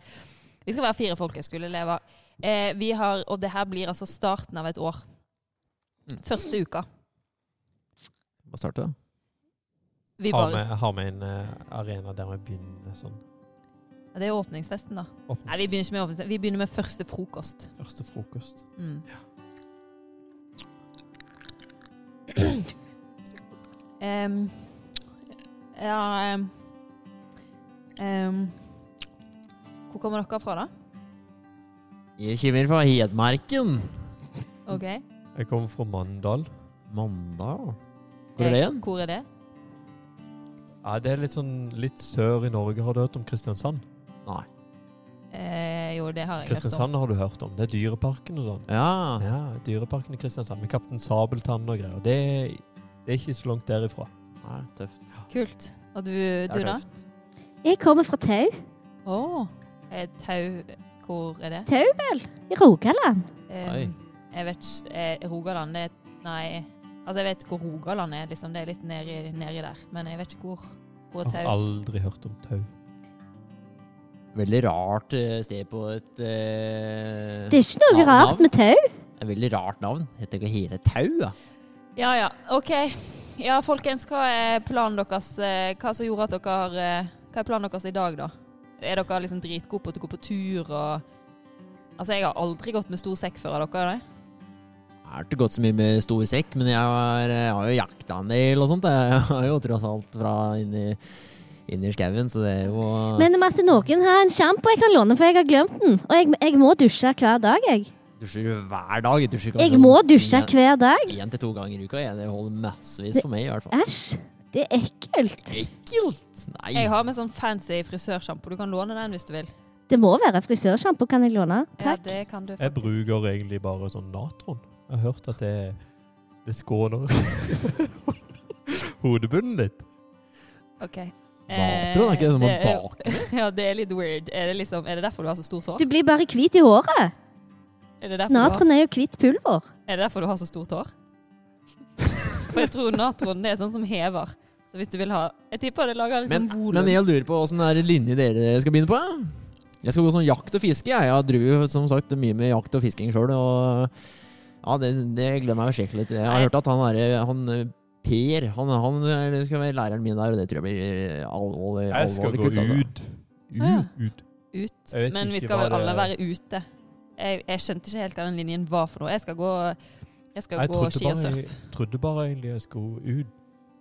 S4: Vi skal være fire folkehøyskoleelever. Eh, vi har, og det her blir altså starten av et år.
S2: Mm.
S4: Første uka.
S2: Hva starter da?
S4: Vi
S3: Har
S4: bare,
S3: vi, har vi en eh, arena der vi begynner sånn?
S4: Ja, det er åpningsfesten, da. Nei, vi begynner ikke med åpningsfest. Vi begynner med første frokost.
S3: Første frokost.
S4: Mm. Em, ja em, em, Hvor kommer dere fra, da?
S2: Jeg kommer fra Hedmarken. Mm.
S4: OK.
S3: Jeg kommer fra Mandal.
S2: Mandal. Hvor er det igjen?
S4: Eh, Hvor er det?
S3: Ja, det er litt sånn litt sør i Norge. Har du hørt om Kristiansand?
S2: Nei.
S4: Eh, jo, det har jeg hørt om.
S3: Kristiansand har du hørt om. Det er Dyreparken og sånn.
S2: Ja.
S3: Ja, Dyreparken i Kristiansand med Kaptein Sabeltann og greier. Det, det er ikke så langt derifra.
S2: Nei, tøft.
S4: Kult. Og du,
S2: Det
S4: du
S2: er
S4: da?
S2: tøft.
S1: Jeg kommer fra Tau.
S4: Å. Eh, tau Hvor er det?
S1: I Rogaland.
S4: Eh,
S2: Oi.
S4: jeg vet ikke eh, Rogaland det er Nei. Altså, jeg vet hvor Rogaland er, liksom. Det er litt nedi, nedi der. Men jeg vet ikke hvor. Hvor er
S3: Jeg har
S4: tau?
S3: aldri hørt om tau.
S2: Veldig rart eh, sted på et eh,
S1: Det er ikke noe
S2: navn-
S1: rart med Tau.
S2: Det er Veldig rart navn. Heter ikke hete Tau, da.
S4: Ja ja, OK. Ja, folkens, hva er planen deres? eh, Hva som gjorde at dere eh, Hva er planen deres i dag, da? Er dere liksom dritgode på å gå på tur og Altså, jeg har aldri gått med stor sekk før av dere, nei?
S2: Jeg har ikke gått så mye med stor sekk, men jeg har, eh, jeg har jo jakta en del og sånt. Jeg har jo tross alt fra inni, inni skauen, så det er jo
S1: Men om at noen har en sjampo jeg kan låne, for jeg har glemt den. Og jeg, jeg må dusje hver dag, jeg.
S2: Dusjer du hver dag? Dusjer kanskje sånn
S1: Jeg må dusje
S2: en-
S1: hver dag.
S2: en til to ganger i uka. jeg. Det holder massevis for meg, i hvert fall.
S1: Æsj. Det er ekkelt.
S2: Ekkelt! Nei.
S4: Jeg har med sånn fancy frisørsjampo. Du kan låne den hvis du vil.
S1: Det må være frisørsjampo, kan jeg låne?
S4: Ja,
S1: Takk.
S4: det kan du
S3: Jeg
S4: faktisk.
S3: bruker egentlig bare sånn natron. Jeg har hørt at det, det skåner hodebunnen litt.
S4: Ok.
S2: Natron, er ikke det som man
S4: eh, er- Ja, det er litt weird. Er det, liksom, er det derfor du har så stort hår?
S1: Du blir bare hvit i håret.
S4: Er det derfor, du,
S1: Natron er jo hvitt pulver.
S4: har, er det derfor du har så stort hår? For jeg tror natron det er sånn som hever. Så hvis du vil ha Jeg tipper det lager litt
S2: Men,
S4: sånn volum.
S2: men jeg lurer på åssen linje dere skal begynne på. ja? Jeg skal gå sånn jakt og fiske. Jeg, jeg driver jo som sagt mye med jakt og fisking sjøl. Og ja, det, det gleder jeg meg å sjekke litt. Jeg har
S4: Nei.
S2: hørt at han derre han eh, Per, han, han eh, skal være læreren min der, og det tror jeg blir eh, alvorlig,
S3: Jeg skal
S2: alvorlig
S3: gå
S2: kult. Altså.
S3: ut.
S4: Ja.
S3: Ut.
S4: ut.
S3: Jeg vet
S4: Men vi
S3: ikke
S4: skal
S3: hva
S4: vel alle
S3: det-
S4: være ute. Jeg, jeg skjønte ikke helt hva den linjen var for noe. Jeg skal gå, jeg skal
S3: Jeg
S4: gå
S3: trodde
S4: ski og
S3: bare, jeg
S4: surf.
S3: trodde bare egentlig jeg skulle ut.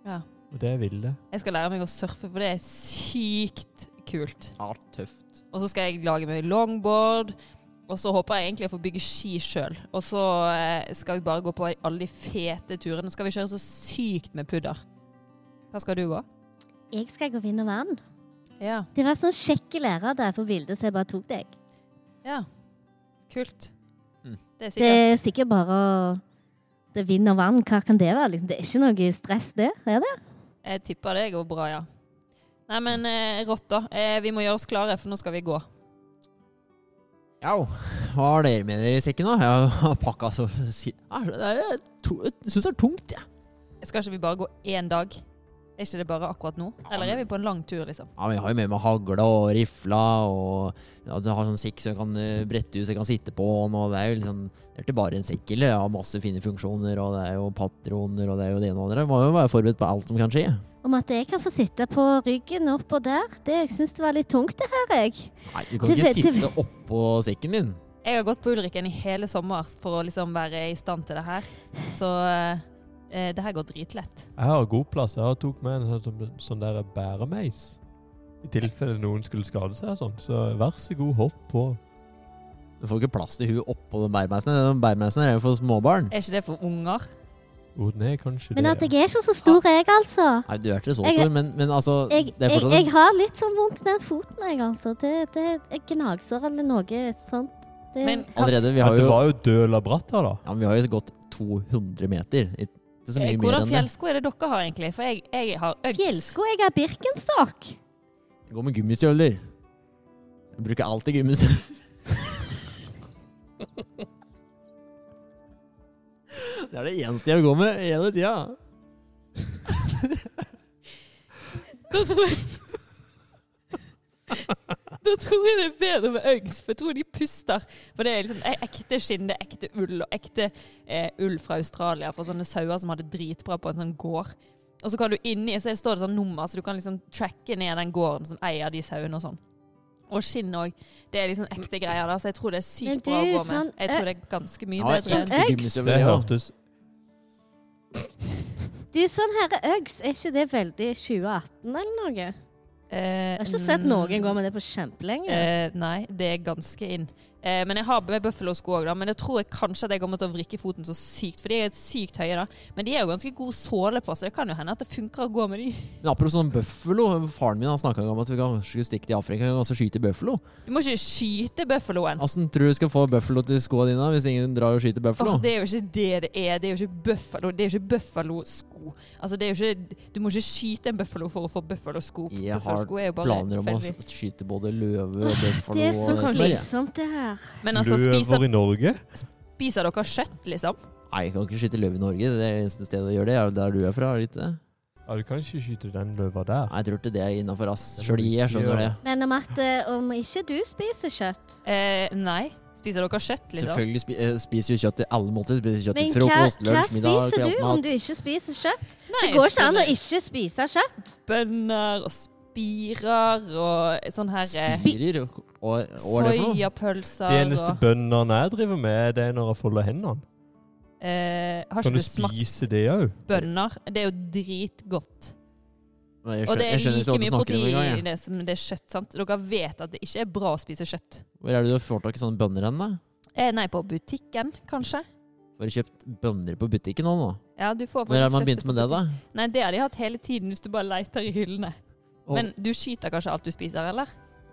S4: Ja.
S3: Og det ville.
S4: Jeg skal lære meg å surfe, for det er sykt kult.
S2: Ja, tøft.
S4: Og så skal jeg lage meg longboard. Og så håper jeg egentlig å få bygge ski sjøl. Og så eh, skal vi bare gå på alle de fete turene. Skal vi kjøre så sykt med pudder. Hva skal du gå?
S1: Jeg skal gå vind og vann.
S4: Ja.
S1: Det var sånn kjekke lærer der på bildet, så jeg bare tok deg.
S4: ja. Kult.
S2: Mm.
S4: Det er
S1: Det
S4: sikkert
S1: er sikkert bare å- det er vind og vann, hva kan det være? Liksom, det er ikke noe stress, det. Er det?
S4: Jeg tipper det går bra, ja. Nei, men eh, rått, da. Eh, vi må gjøre oss klare, for nå skal vi gå.
S2: Ja, hva har dere med dere i sekken, da? Jeg har pakka så si- Ja, det er- Jeg to- jeg syns det er tungt, jeg.
S4: Skal ikke vi bare gå én dag? Er ikke det bare akkurat nå? Eller er vi på en lang tur, liksom?
S2: Ja, men jeg har jo med meg hagle og rifla og ja, jeg har sånn sekk som jeg kan eh, brette ut, så jeg kan sitte på den. Og det er jo liksom Det er ikke bare en sekk, eller? Jeg har masse fine funksjoner, og det er jo patroner, og det er jo det ene og det andre. Jeg Må jo være forberedt på alt som kan skje.
S1: Om at jeg kan få sitte på ryggen opp og der, det jeg syns det var litt tungt, det her, jeg.
S2: Nei, du kan
S1: Det
S2: ikke
S1: vet- det
S2: sitte oppå sekken min.
S4: Jeg har gått på Ulriken i hele sommer for å liksom være i stand til det her. Så eh, eh, det her går dritlett.
S3: Jeg har god plass. Jeg har tok med en sånn, sånn der bæremeis. I tilfelle noen skulle skade seg og sånn. Så vær så god, hopp på.
S2: Du får ikke plass til huet oppå den bærmeisen. Den bærmeisen er jo for småbarn.
S4: Er ikke det for unger?
S3: Jo, den er kanskje
S1: Men
S3: det.
S1: at jeg er ikke så stor, jeg, altså.
S2: Nei, du er ikke så
S1: Jeg-
S2: stor, men, men altså
S1: Jeg,
S2: Det er
S1: jeg,
S2: fortsatt
S1: jeg har litt sånn vondt i den foten, jeg, altså. Det, det er gnagsår eller noe sånt. Det,
S4: Men hva-
S2: Allerede, vi
S3: Men
S2: har
S3: det
S2: jo
S3: var jo død labratt her, da.
S2: Ja, men vi har jo gått 200 meter. Ikke så
S4: eh,
S2: mye mer
S4: hvordan
S2: enn det.
S4: fjellsko er det dere har, egentlig? For jeg, jeg har Uggs.
S1: fjellsko Jeg har Birkenstock.
S2: Gå med gummistøvler. Jeg bruker alltid gummistøvler. Det er det eneste jeg går med hele tida.
S4: Da tror jeg Da tror jeg det er bedre med Uggs, for jeg tror de puster. For det er liksom e- ekte skinn, det er ekte ull, og ekte eh, ull fra Australia, fra sånne sauer som hadde dritbra på en sånn gård. Og så kan du inni så står det sånn nummer, så du kan liksom tracke ned den gården som eier de sauene og sånn. Og skinn òg. Det er liksom ekte greier der, så jeg tror det er
S1: Men
S4: sykt bra å
S1: du,
S4: gå med.
S1: sånn,
S4: jeg tror det er ganske mye
S2: Ja,
S4: bedre.
S1: sånn
S4: enn-
S1: øks.
S3: Det
S2: gummistøvler, ja.
S3: hørtes
S1: Du, sånn herre Uggs, er ikke det veldig 2018 eller noe? Jeg Mm.
S4: Eh,
S1: har ikke sett noen gå med det på kjempelenge.
S4: Eh, nei, det Eh, er ganske inn. Eh, men jeg har med Buffalo-sko òg, men jeg tror jeg kanskje at jeg kommer til å vrikke foten så sykt. For de er sykt høye, da. Men de er jo ganske god såle på, så det kan jo hende at det funker å gå med de.
S2: Men apropos sånn bøffelo. Faren min snakka om at vi kanskje skulle stikke til Afrika og så skyte bøffelo.
S4: Du må ikke skyte buffaloen.
S2: Åssen tror du skal få bøffelo til skoa dine hvis ingen drar og skyter bøffelo?
S4: Åh, det er jo ikke det det er. Det er jo ikke buffalo. Det er jo ikke buffalo-sko. Altså, det er jo ikke, du må ikke skyte en buffalo for å få buffalo-sko.
S2: Jeg har
S4: Buffalo-sko er jo bare
S2: planer om å
S4: tilfeldig.
S2: skyte både løve og bøffelo.
S1: Det er så
S2: og- sånn.
S1: slitsomt, det her.
S4: Men altså, spiser,
S5: Løver i Norge?
S4: spiser dere kjøtt, liksom?
S2: Nei, jeg kan ikke skyte løve i Norge. Det er eneste stedet å gjøre det, er jo der du er fra. er det ikke det?
S3: Ja, du kan ikke skyte den løva der.
S2: Nei, jeg tror ikke det er innafor, ass.
S3: Det må
S2: Sjøl
S3: vi
S2: jeg
S3: ikke
S2: skjønner det.
S3: gjøre.
S1: Men Marte, om ikke du spiser kjøtt
S4: Eh, nei. Spiser dere kjøtt, liksom?
S2: Selvfølgelig spi eh, spiser jo kjøtt i alle måter. Spiser kjøtt
S1: Men
S2: til
S1: hva,
S2: frokost,
S1: hva
S2: lunsj, middag,
S1: spiser du om
S2: kveldsmat.
S1: du ikke spiser kjøtt?
S4: Nei,
S1: Det går ikke an å ikke spise kjøtt.
S4: Bønner og spirer og sånn her eh,
S2: Spirer og, og, og er det for noe?
S4: Soyapølser
S5: De eneste
S4: og
S5: bøndene jeg driver med, det er når jeg folder hendene.
S4: eh, Har
S5: Kan
S4: ikke
S5: du
S4: du smakt
S5: spise det òg?
S4: bønner? Det er jo dritgodt.
S2: Nei, Jeg
S4: Og
S2: skjønner,
S4: det
S2: jeg
S4: er
S2: skjønner ikke hva
S4: like
S2: du
S4: mye
S2: snakker om engang.
S4: protein i
S2: jeg.
S4: det som det er kjøtt, sant? Dere vet at det ikke er bra å spise kjøtt.
S2: Hvor er det du får tak i sånne bønner hen, da?
S4: Eh, nei, på butikken, kanskje.
S2: Får du kjøpt bønner på butikken nå, nå?
S4: Ja, du får
S2: Når er
S4: faktisk
S2: det man
S4: kjøttet
S2: begynte
S4: på
S2: med det, da?
S4: butikk. Nei, det har de hatt hele tiden hvis du bare leter i hyllene.
S2: Og-
S4: Men du skyter kanskje alt du spiser, eller?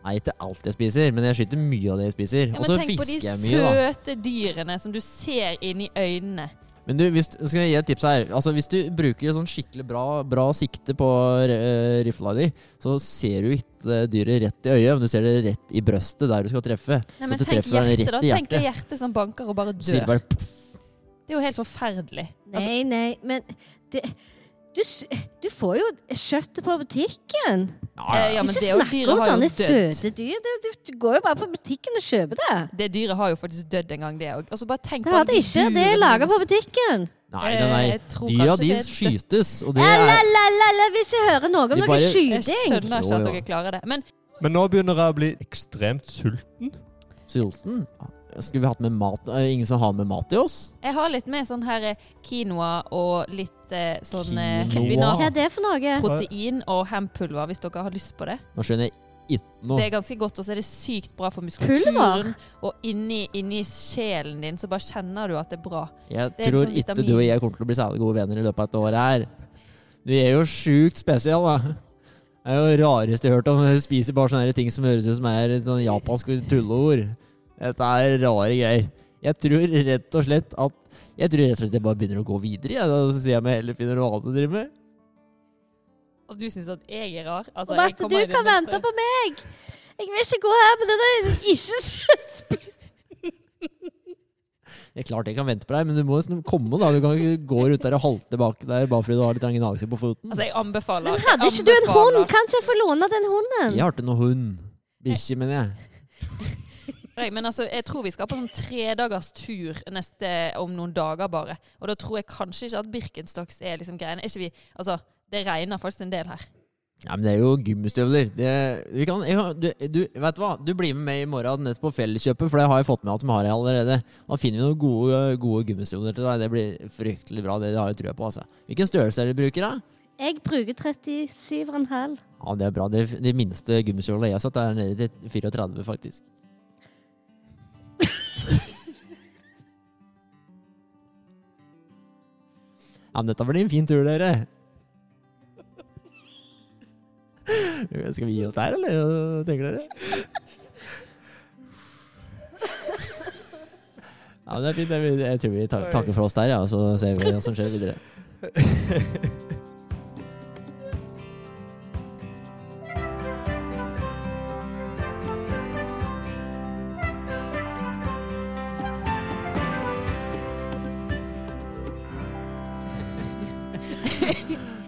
S2: Nei, ikke alt jeg spiser, men jeg skyter mye av det jeg spiser.
S4: Ja,
S2: og
S4: men
S2: så
S4: tenk på de
S2: fisker jeg mye, da.
S4: søte dyrene som du ser inni øynene.
S2: Men du, hvis, skal jeg gi et tips her. Altså, Hvis du bruker sånn skikkelig bra, bra sikte på uh, rifla di, så ser du ikke det dyret rett i øyet, men du ser det rett i brøstet der du skal treffe.
S4: Nei,
S2: Så
S4: men
S2: du
S4: tenk
S2: treffer den
S4: hjertet, da.
S2: rett i
S4: Tenk det
S2: hjertet.
S4: hjertet som banker og bare
S2: Så sier det
S4: dør.
S2: bare pff,
S4: Det er jo helt forferdelig. Altså,
S1: Nei, nei, men det, du, s- du får jo kjøttet på butikken.
S2: ja,
S4: eh,
S2: ja.
S4: ja, men det
S1: ikke
S4: er jo
S1: snakk
S4: dyret
S1: om
S4: har jo
S1: sånne
S4: dødd.
S1: søte dyr. Du, du, du går jo bare på butikken og kjøper det.
S4: Det dyret har jo faktisk dødd en gang, det òg. Altså, bare tenk
S1: Det har de ikke. Det er laga på butikken.
S2: Nei, nei,
S4: Eh, jeg
S2: nei.
S4: tror
S2: Dyra
S4: kanskje
S2: de
S4: det er dødt.
S2: skytes, og det er
S1: La, la, la, la, vil ikke høre noe om
S2: De
S1: noe
S2: bare-
S4: Jeg
S1: skyting.
S4: skjønner ikke at
S2: Jo, ja.
S4: dere klarer det. Men
S5: Men nå begynner jeg å bli ekstremt sulten.
S2: sulten. Skulle vi hatt med mat? Er det ingen som har med mat til oss?
S4: jeg har litt mer sånn her eh, quinoa og litt eh, sånn eh,
S2: Quinoa?
S4: spinat.
S1: Hva er det for noe?
S4: Protein og hempulver, hvis dere har lyst på det.
S2: Nå skjønner jeg ikke
S4: Det
S2: noe.
S4: er ganske godt, og så er det sykt bra for
S1: Pulver?
S4: muskulaturen. Og inni, inni sjelen din så bare kjenner du at det er bra.
S2: Jeg
S4: det er
S2: tror
S4: sånn
S2: ikke
S4: vitamin.
S2: du og jeg kommer til å bli særlig gode venner i løpet av et år her. Du er jo sjukt spesiell, da. Det er jo det rareste jeg har hørt om. Hun spiser bare sånne her ting som høres ut som er sånn japanske tulleord. Dette er rare greier. Jeg tror rett og slett at Jeg tror rett og slett jeg bare begynner å gå videre. Jeg. Da sier jeg meg heller finner noe annet å drive med.
S4: Og du syns at jeg er rar? Altså,
S1: Og
S4: jeg
S1: Marte,
S4: kommer
S1: du
S4: i det
S1: kan
S4: neste-
S1: vente på meg. Jeg vil ikke gå her med det der ikke kjøttspist.
S2: Det er klart jeg kan vente på deg, men du må liksom komme, da. Du kan ikke gå rundt der og halte tilbake der bare fordi du har litt gnagsår på foten.
S4: Altså, jeg anbefaler.
S1: Men
S4: jeg
S1: hadde ikke du en hund?
S4: anbefaler.
S1: Kan ikke jeg få låne den hunden?
S2: Jeg har ikke noe hund. Bikkje, mener jeg.
S4: Nei, men altså, jeg tror vi skal på en tredagers tur neste, om noen dager bare. Og da tror jeg kanskje ikke at Birkenstocks er liksom greiene. Er ikke vi, altså, det regner faktisk en del her.
S2: Ja, men det er jo gummistøvler. Det, vi kan, jeg, har- du, du, vet du hva? Du blir med meg i morgen nett på Felleskjøpet, for det har jeg fått med at de har allerede. Da finner vi noen gode, gode gummistøvler til deg. Det blir fryktelig bra. Det har jeg trua på. Altså. Hvilken størrelse er det du bruker, da?
S1: Jeg bruker 37,5.
S2: Ja, det er bra. De, de minste gummistøvlene jeg har sett, er nede til 34, faktisk. Ja, men dette blir en fin tur, dere. Skal vi gi oss der, eller? Hva tenker dere? Ja, men det er fint. det er- Jeg tror vi tak- takker for oss der, ja, og så ser vi hva som skjer videre.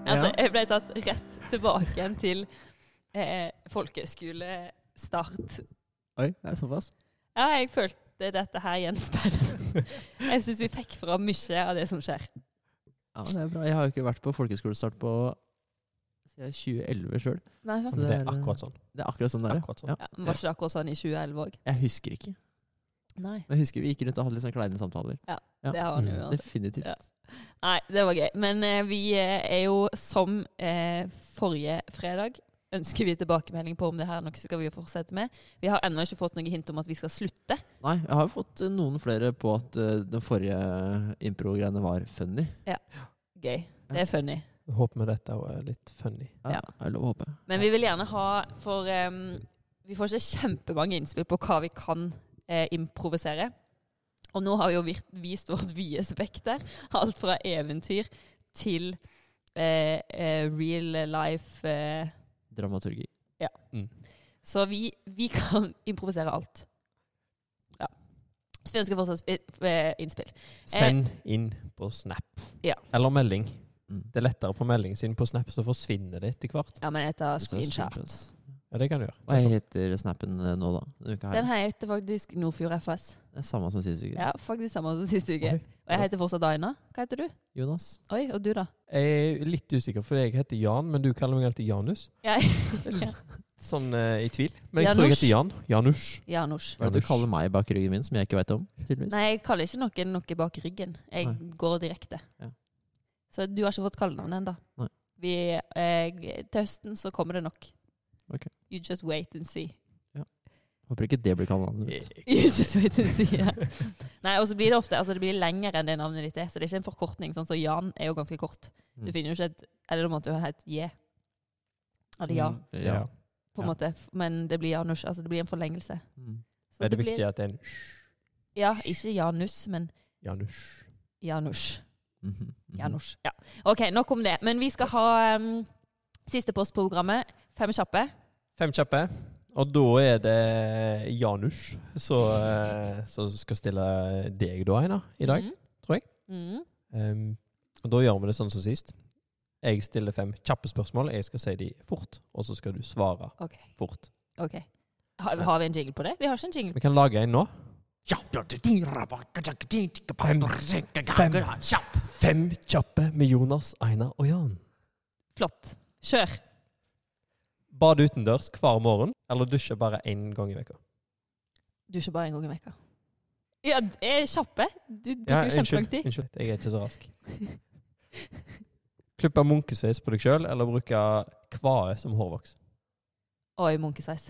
S4: Altså, jeg ble tatt rett tilbake igjen til eh, folkeskolestart.
S2: Oi, det er såpass.
S4: Ja, jeg følte dette her gjenspeilet. Jeg syns vi fikk fra mye av det som skjer.
S2: Ja, det er bra. Jeg har jo ikke vært på folkeskolestart på siden 2011 sjøl.
S4: Nei, sant?
S2: Det
S5: Det
S2: er
S5: er akkurat sånn.
S2: Det er akkurat sånn det er.
S5: Akkurat sånn.
S2: Ja.
S4: Ja, men var ikke det akkurat sånn i 2011 òg?
S2: Jeg husker ikke.
S4: Nei.
S2: Men jeg husker vi gikk rundt og hadde litt sånn kleine samtaler. Ja.
S4: Det har han jo.
S3: Mm.
S4: uansett.
S2: Definitivt.
S4: Ja. Nei, det var gøy. Men eh, vi eh, er jo som eh, forrige fredag ønsker vi tilbakemelding på om det her er noe skal vi fortsette med. Vi har ennå ikke fått noe hint om at vi skal slutte.
S2: Nei, jeg har jo fått eh, noen flere på at eh, den forrige impro-greiene var funny.
S4: Gøy. Det er funny.
S3: Jeg Håper vi dette er litt funny.
S2: Ja,
S4: Ja.
S2: Er det lov å håpe?
S4: Men vi vil gjerne ha For em, vi får ikke kjempemange innspill på hva vi kan eh, improvisere. Og nå har vi jo vir- vist vårt vide spekter. Alt fra eventyr til eh, eh, real life. Eh.
S2: Dramaturgi.
S4: Så vi, vi kan improvisere alt. Ja. Så vi ønsker fortsatt sp- eh, innspill.
S3: Send inn på Snap.
S4: Ja.
S3: Eller melding.
S2: Mm.
S3: Det er lettere på melding, siden på Snap så forsvinner det etter hvert.
S4: Ja, men jeg
S2: Så
S4: tar
S2: er det
S4: screenshot.
S2: screenshots.
S3: Ja, det kan du gjøre.
S2: Hva heter snappen eh, nå, da? Denne uka her.
S4: Den her heter faktisk Nordfjord FS.
S2: Det er samme som sist uke.
S4: Ja, faktisk samme som siste uke.
S3: Oi.
S4: Og jeg heter fortsatt Aina. Hva heter du?
S2: Jonas?
S4: Oi, og du da?
S3: Jeg er litt usikker, for jeg heter Jan, men du kaller meg alltid Janus.
S4: Jeg,
S3: Sånn eh, i tvil. Men jeg tror jeg
S4: Janus.
S3: heter Jan. Janus.
S4: Janus.
S2: Hva er det du kaller meg bak ryggen min, som jeg ikke veit om? tydeligvis?
S4: Nei, jeg kaller ikke noen noe bak ryggen. Jeg
S2: Nei.
S4: går direkte.
S2: Ja.
S4: Så du har ikke fått kallenavn ennå.
S2: Nei.
S4: Eh, til høsten så kommer det nok.
S2: Ok.
S4: You just wait and see.
S2: Håper ikke det blir kallenavnet mitt.
S4: You just wait and see, ja. Nei, og så blir det ofte altså det blir lenger enn det navnet ditt er. Så det er ikke en forkortning. Sånn, så Jan er jo ganske kort. Du
S2: Mm.
S4: finner jo ikke et Eller da måtte du ha hett J. Eller ja,
S3: Mm,
S2: Ja.
S3: Ja.
S4: på en
S2: Ja.
S4: måte. F- Men det blir Janus. Altså det blir en forlengelse.
S2: Mm.
S4: Så
S3: Er det,
S4: blir-
S3: viktig at det er en sj?
S4: Ja, ikke Janus, men
S3: Janus.
S4: Janus.
S2: Mhm. Mhm.
S4: Janus. Ja. OK, nok om det. Men vi skal ha um, siste postprogrammet. Fem kjappe.
S3: Fem kjappe. Og da er det Janus som eh, som skal stille deg da, Einar, i dag.
S4: Mhm.
S3: tror jeg.
S4: Mhm.
S3: Um, og da gjør vi det sånn som sist. Jeg stiller fem kjappe spørsmål. Jeg skal si de fort, og så skal du svare
S4: Ok.
S3: fort.
S4: OK. Har, har vi en jingle på det? Vi har ikke en jingle.
S3: Vi kan lage en nå. Fem, fem, fem kjappe med Jonas, Einar og Jan.
S4: Flott. Kjør.
S3: Bade utendørs hver morgen, eller dusje bare én gang i veka?
S4: Dusjer bare en gang i veka. Ja, d- eh, kjappe. Du
S3: Ja,
S4: bruker jo kjempelang
S3: unnskyld,
S4: tid.
S3: unnskyld, jeg er ikke så rask. Klippe munkesveis på deg sjøl, eller bruke kvae som hårvoks?
S4: Oi, munkesveis.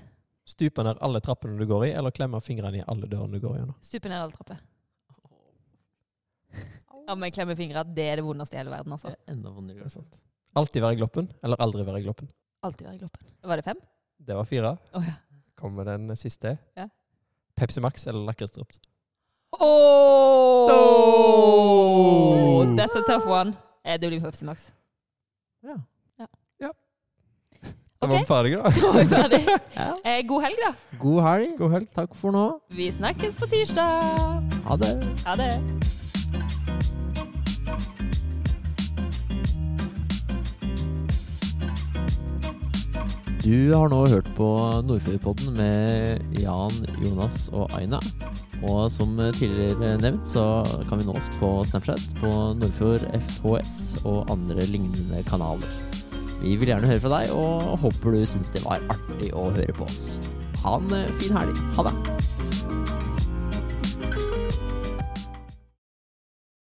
S3: Stupe ned alle trappene du går i, eller klemme fingrene i alle dørene du går gjennom?
S4: Stupe ned alle trapper. Ja, men klemme fingre. Det er det vondeste i hele verden, altså.
S2: Det er Enda vondere.
S3: Det er sant. Alltid være i gloppen, eller aldri være i gloppen?
S4: Alltid være i gloppen. Var det fem?
S3: Det var fire.
S4: Å ja.
S3: Kommer den siste.
S4: Ja.
S3: Pepsi Max eller lakrisdrypp?
S4: Oh! That's a tough one. Eh, Det blir Pepsi Max.
S2: Ja.
S4: Ok.
S3: Da var vi ferdige, da.
S4: Da er vi ferdig.
S2: Ja.
S4: Eh, god helg, da.
S2: God helg.
S3: God helg.
S2: Takk for nå.
S4: Vi snakkes på tirsdag.
S2: Ha det.
S4: Ha det.
S2: Du har nå hørt på Nordfjordpodden med Jan, Jonas og Aina. Og som tidligere nevnt, så kan vi nås på Snapchat, på Nordfjord FHS og andre lignende kanaler. Vi vil gjerne høre fra deg, og håper du syns det var artig å høre på oss. Ha en fin helg. Ha det.